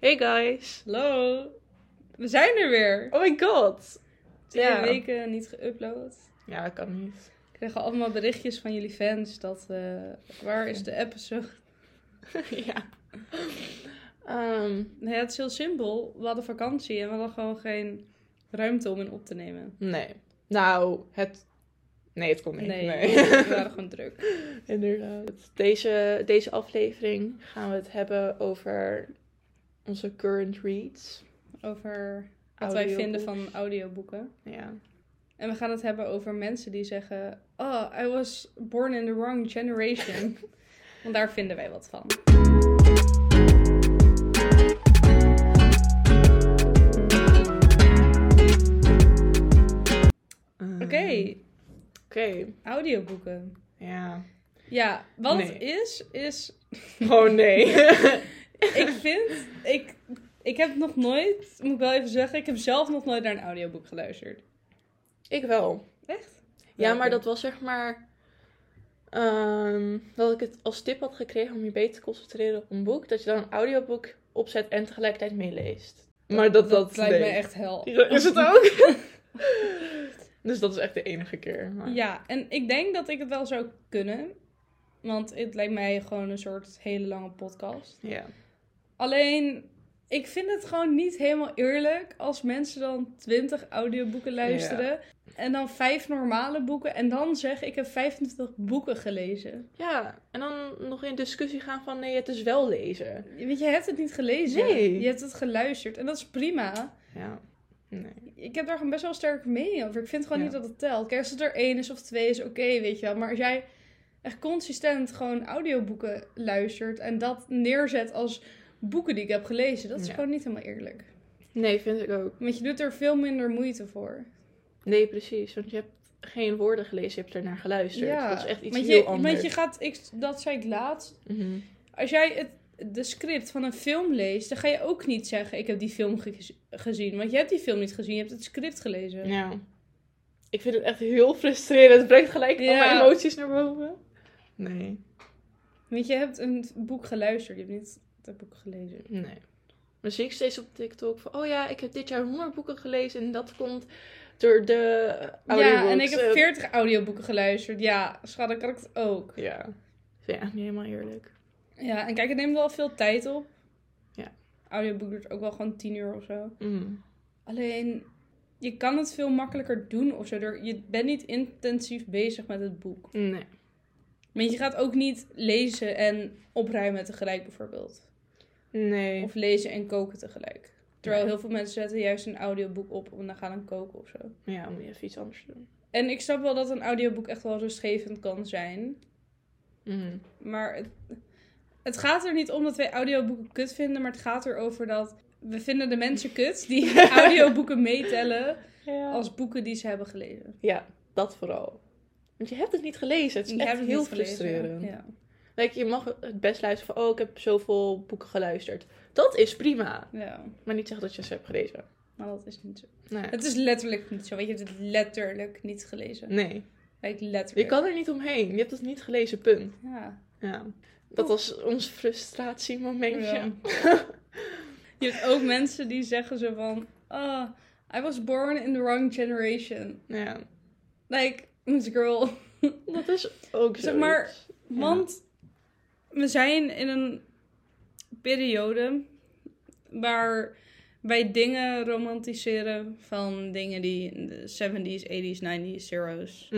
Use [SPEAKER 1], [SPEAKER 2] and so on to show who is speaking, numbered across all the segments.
[SPEAKER 1] Hey guys.
[SPEAKER 2] Hallo. We zijn er weer.
[SPEAKER 1] Oh my god.
[SPEAKER 2] Twee
[SPEAKER 1] ja.
[SPEAKER 2] weken niet geüpload.
[SPEAKER 1] Ja, dat kan niet.
[SPEAKER 2] Ik kreeg allemaal berichtjes van jullie fans dat... eh, waar is de episode?
[SPEAKER 1] ja. Ehm,
[SPEAKER 2] Nee, het is heel simpel. We hadden vakantie en we hadden gewoon geen ruimte om in op te nemen.
[SPEAKER 1] nee. Nou, het... Nee, het kon niet. Nee.
[SPEAKER 2] we waren gewoon druk.
[SPEAKER 1] Inderdaad. Deze, deze aflevering gaan we het hebben over onze current reads.
[SPEAKER 2] Over wat wij vinden van
[SPEAKER 1] Audiobooks.
[SPEAKER 2] audioboeken.
[SPEAKER 1] Ja.
[SPEAKER 2] En we gaan het hebben over mensen die zeggen... Oh, I was born in the wrong generation. Want daar vinden wij wat van.
[SPEAKER 1] Ehm,
[SPEAKER 2] Oké,
[SPEAKER 1] Ehm, Mm. Oké.
[SPEAKER 2] audioboeken.
[SPEAKER 1] Ja.
[SPEAKER 2] Ja, wat het
[SPEAKER 1] Nee.
[SPEAKER 2] is, is...
[SPEAKER 1] Oh nee.
[SPEAKER 2] Ik vind... Ik, ik heb nog nooit... Moet ik wel even zeggen. Ik heb zelf nog nooit naar een audioboek geluisterd.
[SPEAKER 1] ik wel.
[SPEAKER 2] Echt?
[SPEAKER 1] Ja,
[SPEAKER 2] Welke?
[SPEAKER 1] maar dat was zeg maar... ehm, dat ik het als tip had gekregen om je beter te concentreren op een boek. Dat je dan een audioboek opzet en tegelijkertijd meeleest. Maar dat, dat,
[SPEAKER 2] lijkt me
[SPEAKER 1] nee.
[SPEAKER 2] echt hel.
[SPEAKER 1] Ja, Is het ook? dus dat is echt de enige keer. maar-
[SPEAKER 2] Ja, en ik denk dat ik het wel zou kunnen. Want het lijkt mij gewoon een soort hele lange podcast.
[SPEAKER 1] Ja.
[SPEAKER 2] Alleen, ik vind het gewoon niet helemaal eerlijk als mensen dan 20 audioboeken luisteren. En dan vijf normale boeken. En dan zeggen ik heb 25 boeken gelezen.
[SPEAKER 1] Ja, en dan nog in discussie gaan van nee, het is wel lezen.
[SPEAKER 2] Want je hebt het niet gelezen.
[SPEAKER 1] Nee.
[SPEAKER 2] Je hebt het geluisterd. En dat is prima.
[SPEAKER 1] Ja. Nee.
[SPEAKER 2] Ik heb daar gewoon best wel een sterke mening over. Ik vind gewoon
[SPEAKER 1] Ja.
[SPEAKER 2] niet dat het telt. Kijk, als het er één is of twee is, oké, weet je wel. Maar als jij echt consistent gewoon audioboeken luistert... en dat neerzet als boeken die ik heb gelezen... dat is
[SPEAKER 1] Ja.
[SPEAKER 2] gewoon niet helemaal eerlijk.
[SPEAKER 1] Nee, vind ik ook.
[SPEAKER 2] Want je doet er veel minder moeite voor.
[SPEAKER 1] Nee, precies. Want je hebt geen woorden gelezen, je hebt ernaar geluisterd. Dat is echt iets
[SPEAKER 2] want je,
[SPEAKER 1] heel anders.
[SPEAKER 2] Want je gaat... Ik, dat zei ik laatst.
[SPEAKER 1] Mhm.
[SPEAKER 2] Als jij het, de script van een film leest... dan ga je ook niet zeggen... ik heb die film ge- gezien. Want je hebt die film niet gezien. Je hebt het script gelezen.
[SPEAKER 1] Ja. Ik vind het echt heel frustrerend. Het brengt gelijk al
[SPEAKER 2] Ja.
[SPEAKER 1] mijn emoties naar boven. Nee.
[SPEAKER 2] Want je hebt een boek geluisterd. Je hebt niet het boek gelezen.
[SPEAKER 1] Nee. Maar zie ik steeds op TikTok van, oh ja, ik heb dit jaar 100 boeken gelezen en dat komt door de
[SPEAKER 2] Ja,
[SPEAKER 1] audiobooks.
[SPEAKER 2] en ik heb
[SPEAKER 1] Eh,
[SPEAKER 2] 40 audioboeken geluisterd. Ja, schat, dan kan ik het ook.
[SPEAKER 1] Ja. Vind ik echt niet helemaal eerlijk.
[SPEAKER 2] Ja, en kijk, het neemt wel veel tijd op.
[SPEAKER 1] Ja.
[SPEAKER 2] Audioboek duurt ook wel gewoon 10 uur of zo.
[SPEAKER 1] Mm.
[SPEAKER 2] Alleen, je kan het veel makkelijker doen of zo. Door- Je bent niet intensief bezig met het boek.
[SPEAKER 1] Nee.
[SPEAKER 2] Want je gaat ook niet lezen en opruimen tegelijk bijvoorbeeld.
[SPEAKER 1] Nee.
[SPEAKER 2] Of lezen en koken tegelijk. Terwijl
[SPEAKER 1] Ja.
[SPEAKER 2] heel veel mensen zetten juist een audioboek op en dan gaan dan koken of zo.
[SPEAKER 1] Ja, moet je even iets anders doen.
[SPEAKER 2] En ik snap wel dat een audioboek echt wel rustgevend kan zijn.
[SPEAKER 1] Mm.
[SPEAKER 2] Maar het, het gaat er niet om dat wij audioboeken kut vinden, maar het gaat erover dat we vinden de mensen kut die audioboeken meetellen
[SPEAKER 1] Ja.
[SPEAKER 2] als boeken die ze hebben gelezen.
[SPEAKER 1] ja, dat vooral. Want je hebt het niet gelezen. Het is
[SPEAKER 2] Die
[SPEAKER 1] echt
[SPEAKER 2] hebben het
[SPEAKER 1] heel
[SPEAKER 2] niet gelezen.
[SPEAKER 1] frustrerend.
[SPEAKER 2] Ja.
[SPEAKER 1] Kijk, je mag het best luisteren van, oh, ik heb zoveel boeken geluisterd. Dat is prima.
[SPEAKER 2] ja,
[SPEAKER 1] Maar niet zeggen dat je ze hebt gelezen.
[SPEAKER 2] maar dat is niet zo.
[SPEAKER 1] Nee.
[SPEAKER 2] Het is letterlijk niet zo, want je hebt het letterlijk niet gelezen.
[SPEAKER 1] Nee.
[SPEAKER 2] Like,
[SPEAKER 1] Je
[SPEAKER 2] letterlijk.
[SPEAKER 1] kan er niet omheen. Je hebt het niet gelezen, punt.
[SPEAKER 2] Ja.
[SPEAKER 1] Ja. Dat was ons frustratiemomentje.
[SPEAKER 2] Ja. Je hebt ook mensen die zeggen zo van, ah, I was born in the wrong generation.
[SPEAKER 1] Ja.
[SPEAKER 2] Like, this girl...
[SPEAKER 1] Dat is ook zo.
[SPEAKER 2] Zeg maar, Want we zijn in een periode waar wij dingen romantiseren van dingen die in de 70s, 80s, 90s, zeros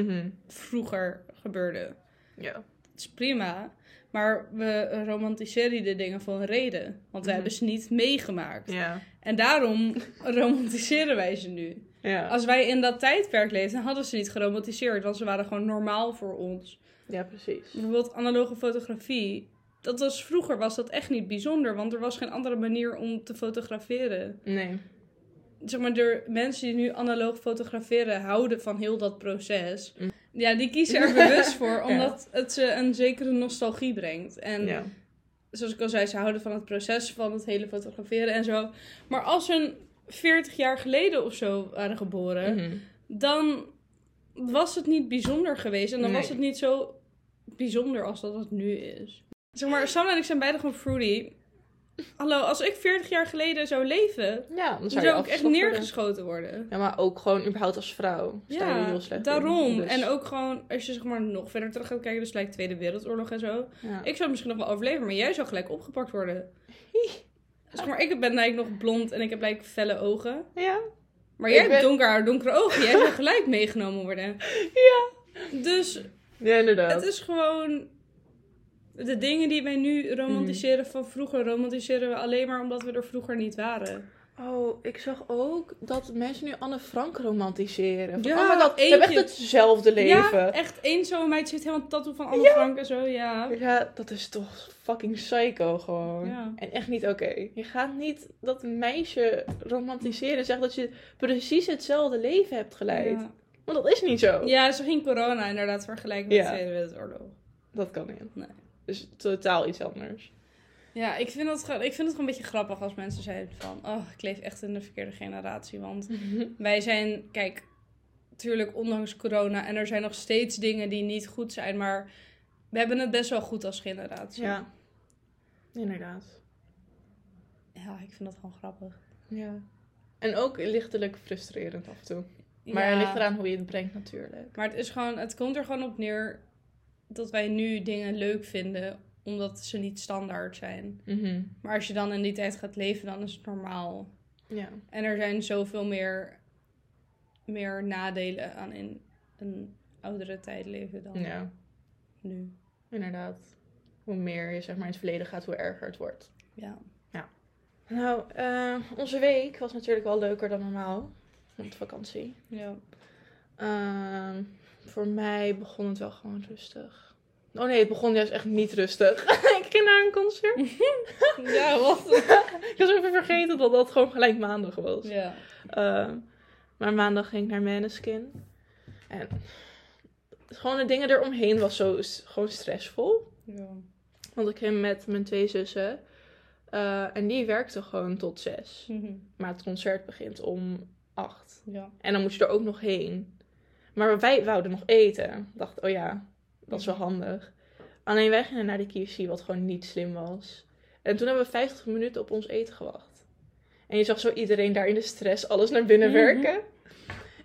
[SPEAKER 2] vroeger gebeurden.
[SPEAKER 1] Ja.
[SPEAKER 2] Het is prima, maar we romantiseren de dingen voor een reden, want
[SPEAKER 1] Mhm.
[SPEAKER 2] we hebben ze niet meegemaakt.
[SPEAKER 1] Ja.
[SPEAKER 2] En daarom romantiseren wij ze nu.
[SPEAKER 1] Ja.
[SPEAKER 2] Als wij in dat tijdperk leefden, hadden ze niet geromantiseerd, want ze waren gewoon normaal voor ons
[SPEAKER 1] ja, precies.
[SPEAKER 2] bijvoorbeeld analoge fotografie. Dat was vroeger was dat echt niet bijzonder, want er was geen andere manier om te fotograferen.
[SPEAKER 1] Nee.
[SPEAKER 2] Zeg maar, de mensen die nu analoog fotograferen houden van heel dat proces.
[SPEAKER 1] Mm.
[SPEAKER 2] Ja, die kiezen er bewust voor, omdat het ze een zekere nostalgie brengt. En
[SPEAKER 1] Ja.
[SPEAKER 2] zoals ik al zei, ze houden van het proces van het hele fotograferen en zo. Maar als ze een 40 jaar geleden of zo waren geboren,
[SPEAKER 1] Mhm.
[SPEAKER 2] dan was het niet bijzonder geweest. En dan
[SPEAKER 1] Nee.
[SPEAKER 2] was het niet zo bijzonder als dat het nu is. Zeg maar, Sam en ik zijn beide gewoon fruity. Hallo, als ik 40 jaar geleden zou leven,
[SPEAKER 1] Ja, dan zou
[SPEAKER 2] dan zou
[SPEAKER 1] je
[SPEAKER 2] ik echt
[SPEAKER 1] afgeslacht worden.
[SPEAKER 2] neergeschoten worden.
[SPEAKER 1] Ja, maar ook gewoon überhaupt als vrouw. Sta je heel
[SPEAKER 2] Ja,
[SPEAKER 1] slecht
[SPEAKER 2] daarom.
[SPEAKER 1] in. Dus,
[SPEAKER 2] En ook gewoon, als je zeg maar nog verder terug gaat kijken, dus gelijk Tweede Wereldoorlog en zo.
[SPEAKER 1] ja.
[SPEAKER 2] Ik zou misschien nog wel overleven, maar jij zou gelijk opgepakt worden. Zeg maar, ik ben eigenlijk nog blond en ik heb gelijk felle ogen.
[SPEAKER 1] ja.
[SPEAKER 2] Maar
[SPEAKER 1] Ik
[SPEAKER 2] jij hebt
[SPEAKER 1] ben-
[SPEAKER 2] donker haar, donkere ogen. Jij zou gelijk meegenomen worden.
[SPEAKER 1] Ja.
[SPEAKER 2] Dus
[SPEAKER 1] Ja, inderdaad.
[SPEAKER 2] het is gewoon... De dingen die wij nu
[SPEAKER 1] Mhm.
[SPEAKER 2] romantiseren van vroeger, romantiseren we alleen maar omdat we er vroeger niet waren.
[SPEAKER 1] Oh, ik zag ook dat mensen nu Anne Frank romantiseren. Van,
[SPEAKER 2] Ja,
[SPEAKER 1] oh my god, ze hebben echt
[SPEAKER 2] eentje.
[SPEAKER 1] hetzelfde
[SPEAKER 2] Ja,
[SPEAKER 1] leven.
[SPEAKER 2] echt één zo'n meid zit helemaal tattoo van Anne Frank en zo, ja.
[SPEAKER 1] Ja, dat is toch fucking psycho gewoon.
[SPEAKER 2] Ja.
[SPEAKER 1] En echt niet oké. Je gaat niet dat meisje romantiseren en zeggen dat je precies hetzelfde leven hebt geleid.
[SPEAKER 2] Ja.
[SPEAKER 1] Want dat is niet zo.
[SPEAKER 2] ja, zo ging corona inderdaad vergelijken met
[SPEAKER 1] Ja.
[SPEAKER 2] de Tweede Wereldoorlog.
[SPEAKER 1] Dat kan niet.
[SPEAKER 2] Nee.
[SPEAKER 1] Dus totaal iets anders.
[SPEAKER 2] Ja, ik vind, dat, gewoon- ik vind het gewoon een beetje grappig als mensen zeiden van... Oh, ik leef echt in de verkeerde generatie, want wij zijn... Kijk, natuurlijk ondanks corona en er zijn nog steeds dingen die niet goed zijn, maar... We hebben het best wel goed als generatie.
[SPEAKER 1] ja. Inderdaad.
[SPEAKER 2] Ja, ik vind dat gewoon grappig.
[SPEAKER 1] Ja. En ook lichtelijk frustrerend af en toe. Maar het
[SPEAKER 2] Ja,
[SPEAKER 1] ligt eraan hoe je het brengt natuurlijk.
[SPEAKER 2] Maar het, is gewoon, het komt er gewoon op neer dat wij nu dingen leuk vinden, omdat ze niet standaard zijn.
[SPEAKER 1] Mhm.
[SPEAKER 2] Maar als je dan in die tijd gaat leven, dan is het normaal.
[SPEAKER 1] Ja.
[SPEAKER 2] En er zijn zoveel meer, meer nadelen aan in een oudere tijd leven dan
[SPEAKER 1] Ja,
[SPEAKER 2] nu.
[SPEAKER 1] inderdaad. Hoe meer je zeg maar in het verleden gaat, hoe erger het wordt.
[SPEAKER 2] Ja.
[SPEAKER 1] Nou, eh, onze week was natuurlijk wel leuker dan normaal. Want vakantie.
[SPEAKER 2] ja.
[SPEAKER 1] Ehm, voor mij begon het wel gewoon rustig. Oh nee, het begon juist echt niet rustig. ik ging naar een concert.
[SPEAKER 2] Ja, wat?
[SPEAKER 1] Ik was even vergeten dat dat gewoon gelijk maandag was.
[SPEAKER 2] ja.
[SPEAKER 1] Ehm, maar maandag ging ik naar Maneskin. En gewoon de dingen eromheen was zo s- gewoon stressvol.
[SPEAKER 2] ja.
[SPEAKER 1] Want ik ging met mijn twee zussen. eh, en die werkte gewoon tot zes.
[SPEAKER 2] Mhm.
[SPEAKER 1] Maar het concert begint om acht.
[SPEAKER 2] Ja.
[SPEAKER 1] En dan moet je er ook nog heen. Maar wij wouden nog eten. Ik dacht, oh ja, dat is wel handig. Alleen wij gingen naar de KFC, wat gewoon niet slim was. En toen hebben we 50 minuten op ons eten gewacht. En je zag zo iedereen daar in de stress alles naar binnen
[SPEAKER 2] Mhm.
[SPEAKER 1] werken.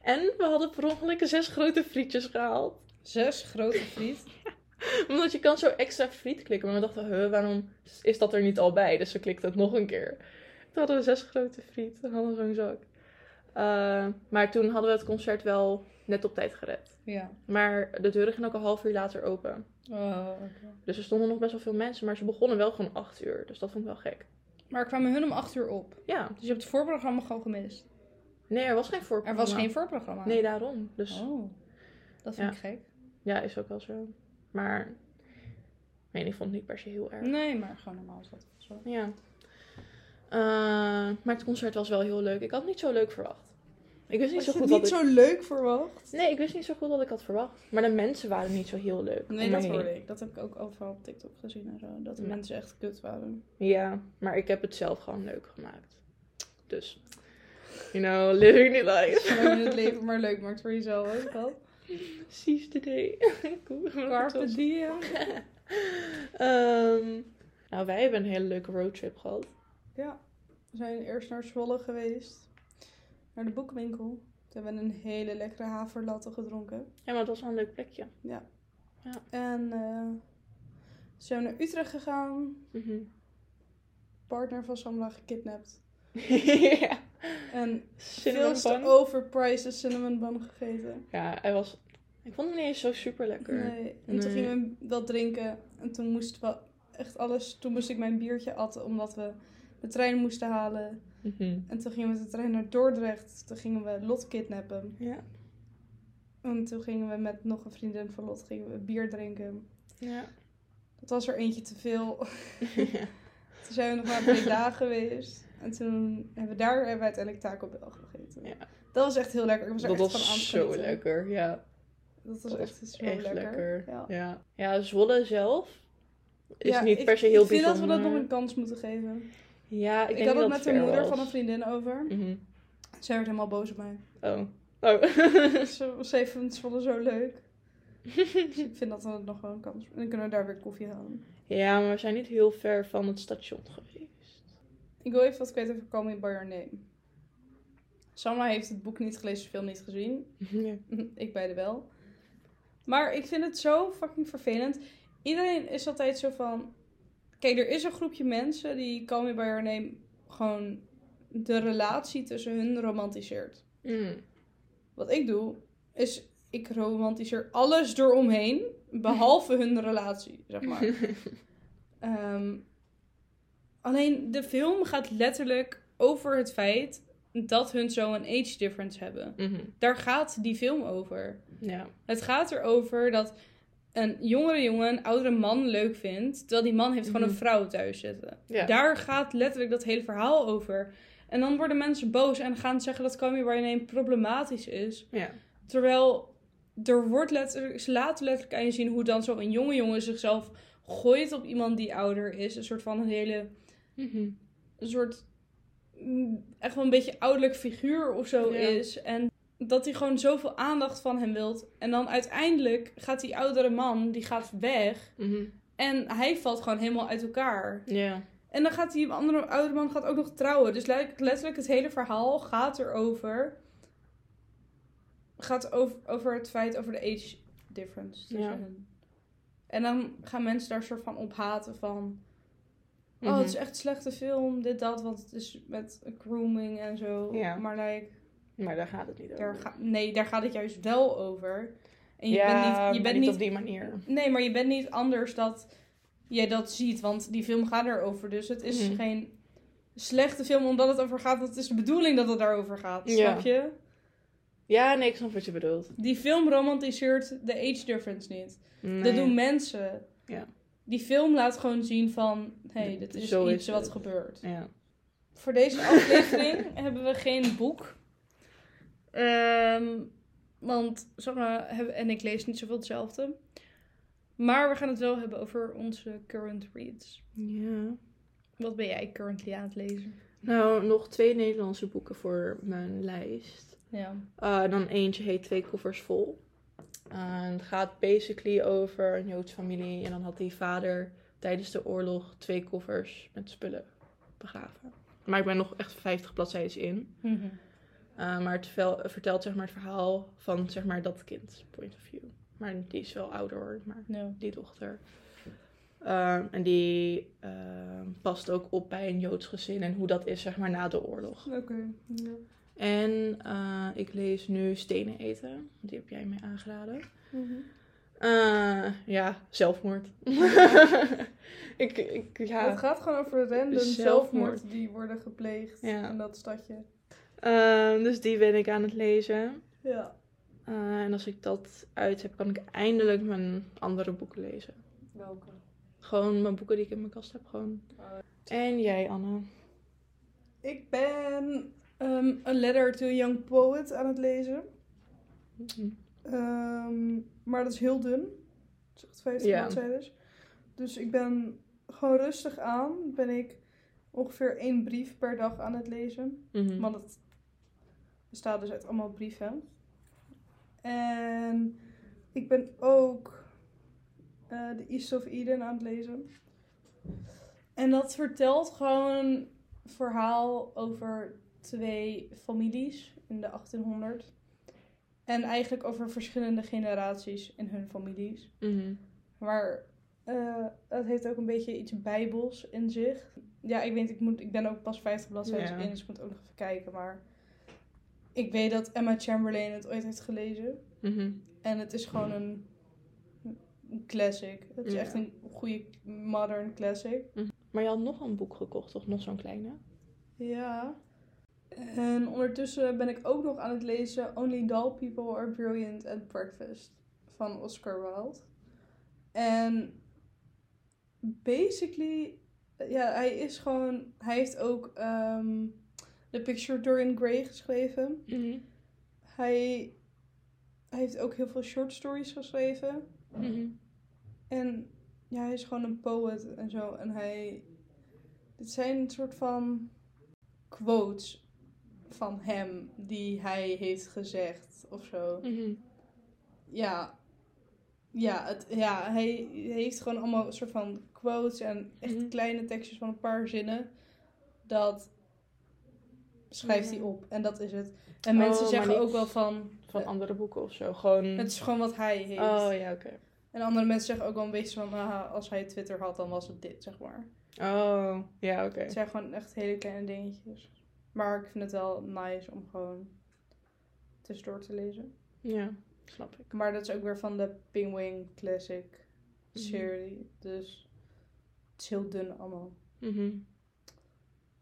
[SPEAKER 1] En we hadden per ongeluk zes grote frietjes gehaald.
[SPEAKER 2] Zes grote friet.
[SPEAKER 1] Omdat je kan zo extra friet klikken. Maar we dachten, huh, waarom is dat er niet al bij? Dus we klikten het nog een keer. Toen hadden we zes grote friet. en hadden we zo'n zak. Eh, maar toen hadden we het concert wel net op tijd gered.
[SPEAKER 2] Ja.
[SPEAKER 1] Maar de deuren gingen ook een half uur later open.
[SPEAKER 2] Oh, oké.
[SPEAKER 1] Dus er stonden nog best wel veel mensen. Maar ze begonnen wel gewoon acht uur. Dus dat vond ik wel gek.
[SPEAKER 2] Maar kwamen hun om acht uur op.
[SPEAKER 1] Ja.
[SPEAKER 2] Dus je hebt het voorprogramma gewoon gemist.
[SPEAKER 1] Nee, er was geen
[SPEAKER 2] Er
[SPEAKER 1] voorprogramma.
[SPEAKER 2] was geen voorprogramma.
[SPEAKER 1] Nee, daarom. Dus
[SPEAKER 2] Oh. Dat vind
[SPEAKER 1] Ja.
[SPEAKER 2] ik gek.
[SPEAKER 1] ja, is ook wel zo. Maar ik weet niet, ik vond het niet per se heel erg.
[SPEAKER 2] Nee, maar gewoon normaal is dat zo.
[SPEAKER 1] Ja. Eh, maar het concert was wel heel leuk. Ik had het niet zo leuk verwacht. Ik wist niet zo goed wat ik...
[SPEAKER 2] leuk verwacht?
[SPEAKER 1] Nee, ik wist niet zo goed wat ik had verwacht. Maar de mensen waren niet zo heel leuk. om
[SPEAKER 2] Nee,
[SPEAKER 1] me
[SPEAKER 2] dat
[SPEAKER 1] heen.
[SPEAKER 2] hoorde ik. Dat heb ik ook overal op TikTok gezien en zo. Dat de
[SPEAKER 1] Ja.
[SPEAKER 2] mensen echt kut waren.
[SPEAKER 1] Ja, maar ik heb het zelf gewoon leuk gemaakt. Dus, you know, living the life.
[SPEAKER 2] Zolang je het leven maar leuk maakt voor jezelf, weet je wel.
[SPEAKER 1] Seize the day. Cool.
[SPEAKER 2] Carpe diem.
[SPEAKER 1] Ehm, nou, wij hebben een hele leuke roadtrip gehad.
[SPEAKER 2] Ja, we zijn eerst naar Zwolle geweest. Naar de boekwinkel. Toen hebben we een hele lekkere haverlatte gedronken.
[SPEAKER 1] Ja, maar het was wel een leuk plekje.
[SPEAKER 2] En eh toen zijn we naar Utrecht gegaan.
[SPEAKER 1] Mhm.
[SPEAKER 2] Partner van Samla gekidnapt.
[SPEAKER 1] ja.
[SPEAKER 2] En
[SPEAKER 1] Cinnamon
[SPEAKER 2] veel Oh. te
[SPEAKER 1] bun.
[SPEAKER 2] overpriced cinnamon bun gegeten.
[SPEAKER 1] Ja, hij was... Ik vond hem niet eens zo super lekker. eh,
[SPEAKER 2] Nee, en toen
[SPEAKER 1] Nee.
[SPEAKER 2] gingen we dat drinken. En toen moest wel echt alles. Toen moest ik mijn biertje atten omdat we de trein moesten halen.
[SPEAKER 1] Mhm.
[SPEAKER 2] En toen gingen we met de trein naar Dordrecht. Toen gingen we Lot kidnappen.
[SPEAKER 1] Ja.
[SPEAKER 2] En toen gingen we met nog een vriendin van Lot gingen we bier drinken.
[SPEAKER 1] Ja.
[SPEAKER 2] Dat was er eentje te veel. Toen zijn we nog maar twee dagen geweest. En toen hebben we daar hebben we uiteindelijk Taco Bell gegeten.
[SPEAKER 1] Ja.
[SPEAKER 2] Dat was echt heel lekker. Ik was er
[SPEAKER 1] dat
[SPEAKER 2] echt van aan het
[SPEAKER 1] was zo
[SPEAKER 2] genieten.
[SPEAKER 1] lekker, ja.
[SPEAKER 2] Dat was
[SPEAKER 1] Dat
[SPEAKER 2] echt zo
[SPEAKER 1] Echt
[SPEAKER 2] lekker.
[SPEAKER 1] lekker.
[SPEAKER 2] Ja.
[SPEAKER 1] Ja. Ja. Zwolle zelf is
[SPEAKER 2] Ja,
[SPEAKER 1] niet
[SPEAKER 2] ik-
[SPEAKER 1] per se heel
[SPEAKER 2] Ik vind
[SPEAKER 1] bijzonder.
[SPEAKER 2] dat we dat nog een kans moeten geven.
[SPEAKER 1] Ja, ik,
[SPEAKER 2] Ik,
[SPEAKER 1] denk
[SPEAKER 2] had
[SPEAKER 1] dat
[SPEAKER 2] het met de
[SPEAKER 1] ver
[SPEAKER 2] moeder
[SPEAKER 1] was.
[SPEAKER 2] van een vriendin over.
[SPEAKER 1] Mhm.
[SPEAKER 2] Zij werd helemaal boos op mij.
[SPEAKER 1] Oh. Oh.
[SPEAKER 2] ze, ze vindt Zwolle zo leuk. dus ik vind dat we nog wel een kans. En dan kunnen we daar weer koffie halen.
[SPEAKER 1] ja, maar we zijn niet heel ver van het station geweest.
[SPEAKER 2] Ik wil even wat kwijt over Call Me By Your Name. Samla heeft het boek niet gelezen, de film niet gezien.
[SPEAKER 1] Ja.
[SPEAKER 2] ik beide wel. Maar ik vind het zo fucking vervelend. Iedereen is altijd zo van... Kijk, er is een groepje mensen die Call Me By Your Name gewoon de relatie tussen hun romantiseert.
[SPEAKER 1] Mm.
[SPEAKER 2] Wat ik doe, is ik romantiseer alles eromheen, behalve hun relatie, zeg maar. Ehm, alleen de film gaat letterlijk over het feit dat hun zo een age difference hebben.
[SPEAKER 1] Mhm.
[SPEAKER 2] Daar gaat die film over.
[SPEAKER 1] Ja.
[SPEAKER 2] Het gaat erover dat een jongere jongen een oudere man leuk vindt, terwijl die man heeft gewoon
[SPEAKER 1] Mhm.
[SPEAKER 2] een vrouw thuis zitten.
[SPEAKER 1] Ja.
[SPEAKER 2] Daar gaat letterlijk dat hele verhaal over. En dan worden mensen boos en gaan zeggen dat Call Me By Your Name problematisch is.
[SPEAKER 1] ja.
[SPEAKER 2] Terwijl er wordt letterlijk, ze laten letterlijk aan je zien hoe dan zo'n jonge jongen zichzelf gooit op iemand die ouder is. Een soort van een hele,
[SPEAKER 1] Mhm.
[SPEAKER 2] een soort, mm, echt wel een beetje ouderlijk figuur of zo
[SPEAKER 1] Ja.
[SPEAKER 2] is. En dat hij gewoon zoveel aandacht van hem wilt. En dan uiteindelijk gaat die oudere man, die gaat weg.
[SPEAKER 1] Mhm.
[SPEAKER 2] En hij valt gewoon helemaal uit elkaar.
[SPEAKER 1] Ja.
[SPEAKER 2] En dan gaat die andere oudere man gaat ook nog trouwen. Dus le- letterlijk het hele verhaal gaat erover. Gaat over, over het feit over de age difference. tussen
[SPEAKER 1] Ja.
[SPEAKER 2] hen. En dan gaan mensen daar soort van op haten van. Oh,
[SPEAKER 1] Mhm.
[SPEAKER 2] het is echt een slechte film. Dit, dat. Want het is met grooming en zo.
[SPEAKER 1] Ja.
[SPEAKER 2] Maar like,
[SPEAKER 1] Mhm. Maar daar gaat het niet over.
[SPEAKER 2] daar ga, nee, daar gaat het juist wel over. En je
[SPEAKER 1] ja,
[SPEAKER 2] bent niet, je
[SPEAKER 1] maar
[SPEAKER 2] bent niet
[SPEAKER 1] op die manier.
[SPEAKER 2] Nee, maar je bent niet anders dat jij dat ziet, want die film gaat erover. Dus het is
[SPEAKER 1] Mhm.
[SPEAKER 2] geen slechte film omdat het over gaat. want Het is de bedoeling dat het daarover gaat.
[SPEAKER 1] Ja.
[SPEAKER 2] Snap je?
[SPEAKER 1] Ja, nee, ik snap wat je bedoelt.
[SPEAKER 2] Die film romantiseert de age difference niet.
[SPEAKER 1] Nee.
[SPEAKER 2] Dat doen mensen.
[SPEAKER 1] Ja.
[SPEAKER 2] Die film laat gewoon zien van, hé, hey,
[SPEAKER 1] Ja,
[SPEAKER 2] dit is
[SPEAKER 1] zo is
[SPEAKER 2] iets wat
[SPEAKER 1] het.
[SPEAKER 2] gebeurt.
[SPEAKER 1] Ja.
[SPEAKER 2] Voor deze aflevering hebben we geen boek. Ehm, want, zeg maar, heb- en ik lees niet zoveel hetzelfde. Maar we gaan het wel hebben over onze current reads.
[SPEAKER 1] ja.
[SPEAKER 2] Wat ben jij currently aan het lezen?
[SPEAKER 1] Nou, nog twee Nederlandse boeken voor mijn lijst.
[SPEAKER 2] Ja.
[SPEAKER 1] Eh, dan eentje heet Twee koffers vol. Eh, het gaat basically over een Joodse familie. En dan had die vader tijdens de oorlog twee koffers met spullen begraven. Maar ik ben nog echt 50 bladzijden in.
[SPEAKER 2] Mhm,
[SPEAKER 1] Uh, maar het vel- vertelt zeg maar, het verhaal van zeg maar, dat kind, point of view. Maar die is wel ouder hoor, maar
[SPEAKER 2] Ja.
[SPEAKER 1] die dochter. Ehm, en die ehm, past ook op bij een Joods gezin en hoe dat is zeg maar, na de oorlog.
[SPEAKER 2] Oké. Ja.
[SPEAKER 1] En eh, ik lees nu Stenen eten, die heb jij mij aangeraden. Eh, ja, zelfmoord. ik, ik, ja.
[SPEAKER 2] Het gaat gewoon over random
[SPEAKER 1] Zelfmoord.
[SPEAKER 2] zelfmoord die worden gepleegd
[SPEAKER 1] Ja.
[SPEAKER 2] in dat stadje.
[SPEAKER 1] Ehm, dus die ben ik aan het lezen.
[SPEAKER 2] Ja.
[SPEAKER 1] Eh, en als ik dat uit heb, kan ik eindelijk mijn andere boeken lezen.
[SPEAKER 2] Welke?
[SPEAKER 1] Gewoon mijn boeken die ik in mijn kast heb, gewoon. En jij, Anne.
[SPEAKER 2] Ik ben ehm A Letter to a Young Poet aan het lezen.
[SPEAKER 1] Mhm.
[SPEAKER 2] Ehm, maar dat is heel dun. Het is echt 50
[SPEAKER 1] Ja.
[SPEAKER 2] bladzijdes. Dus ik ben gewoon rustig aan. Ben ik ongeveer één brief per dag aan het lezen.
[SPEAKER 1] Mhm.
[SPEAKER 2] Want het bestaat dus uit allemaal brieven. En ik ben ook eh The East of Eden aan het lezen. En dat vertelt gewoon een verhaal over twee families in de 1800. En eigenlijk over verschillende generaties in hun families.
[SPEAKER 1] Mhm.
[SPEAKER 2] Maar eh, het heeft ook een beetje iets bijbels in zich. Ja, ik weet, ik, moet, ik ben ook pas 50 bladzijden
[SPEAKER 1] Ja.
[SPEAKER 2] in, dus ik moet ook nog even kijken. Maar ik weet dat Emma Chamberlain het ooit heeft gelezen.
[SPEAKER 1] Mhm.
[SPEAKER 2] En het is gewoon een, een classic. Het is
[SPEAKER 1] Ja.
[SPEAKER 2] echt een goede modern classic.
[SPEAKER 1] Maar je had nog een boek gekocht, toch? Nog zo'n kleine?
[SPEAKER 2] Ja. En ondertussen ben ik ook nog aan het lezen Only Dull People Are Brilliant at Breakfast van Oscar Wilde. En basically, ja, hij is gewoon, hij heeft ook ehm, The Picture Dorian Gray geschreven.
[SPEAKER 1] Mhm.
[SPEAKER 2] Hij, hij heeft ook heel veel short stories geschreven.
[SPEAKER 1] Mhm.
[SPEAKER 2] En ja, hij is gewoon een poet en zo. En hij. Dit zijn een soort van quotes van hem die hij heeft gezegd of zo.
[SPEAKER 1] Mhm.
[SPEAKER 2] Ja. Ja, het, ja, hij heeft gewoon allemaal soort van quotes en echt
[SPEAKER 1] Mhm.
[SPEAKER 2] kleine tekstjes van een paar zinnen. dat schrijft hij
[SPEAKER 1] Ja.
[SPEAKER 2] op. En dat is het. En
[SPEAKER 1] Oh,
[SPEAKER 2] mensen
[SPEAKER 1] maar
[SPEAKER 2] zeggen
[SPEAKER 1] niet
[SPEAKER 2] ook wel van,
[SPEAKER 1] Van andere boeken of zo. Gewoon...
[SPEAKER 2] het is gewoon wat hij heeft.
[SPEAKER 1] Eh. Oh ja, oké.
[SPEAKER 2] En andere mensen zeggen ook wel een beetje van, aha, als hij Twitter had, dan was het dit, zeg maar.
[SPEAKER 1] Oh, ja, oké.
[SPEAKER 2] Het zijn gewoon echt hele kleine dingetjes. Maar ik vind het wel nice om gewoon tussendoor te lezen.
[SPEAKER 1] Ja, snap ik.
[SPEAKER 2] Maar dat is ook weer van de Penguin Classic serie. Dus het is heel dun allemaal.
[SPEAKER 1] Mhm.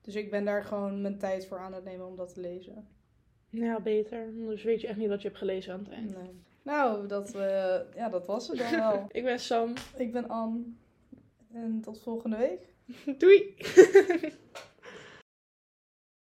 [SPEAKER 2] Dus ik ben daar gewoon mijn tijd voor aan het nemen om dat te lezen.
[SPEAKER 1] Nou, beter. Anders weet je echt niet wat je hebt gelezen aan het eind.
[SPEAKER 2] Nee. Nou, dat, eh, ja, dat was het dan wel.
[SPEAKER 1] Ik ben Sam.
[SPEAKER 2] ik ben Anne. En tot volgende week.
[SPEAKER 1] Doei!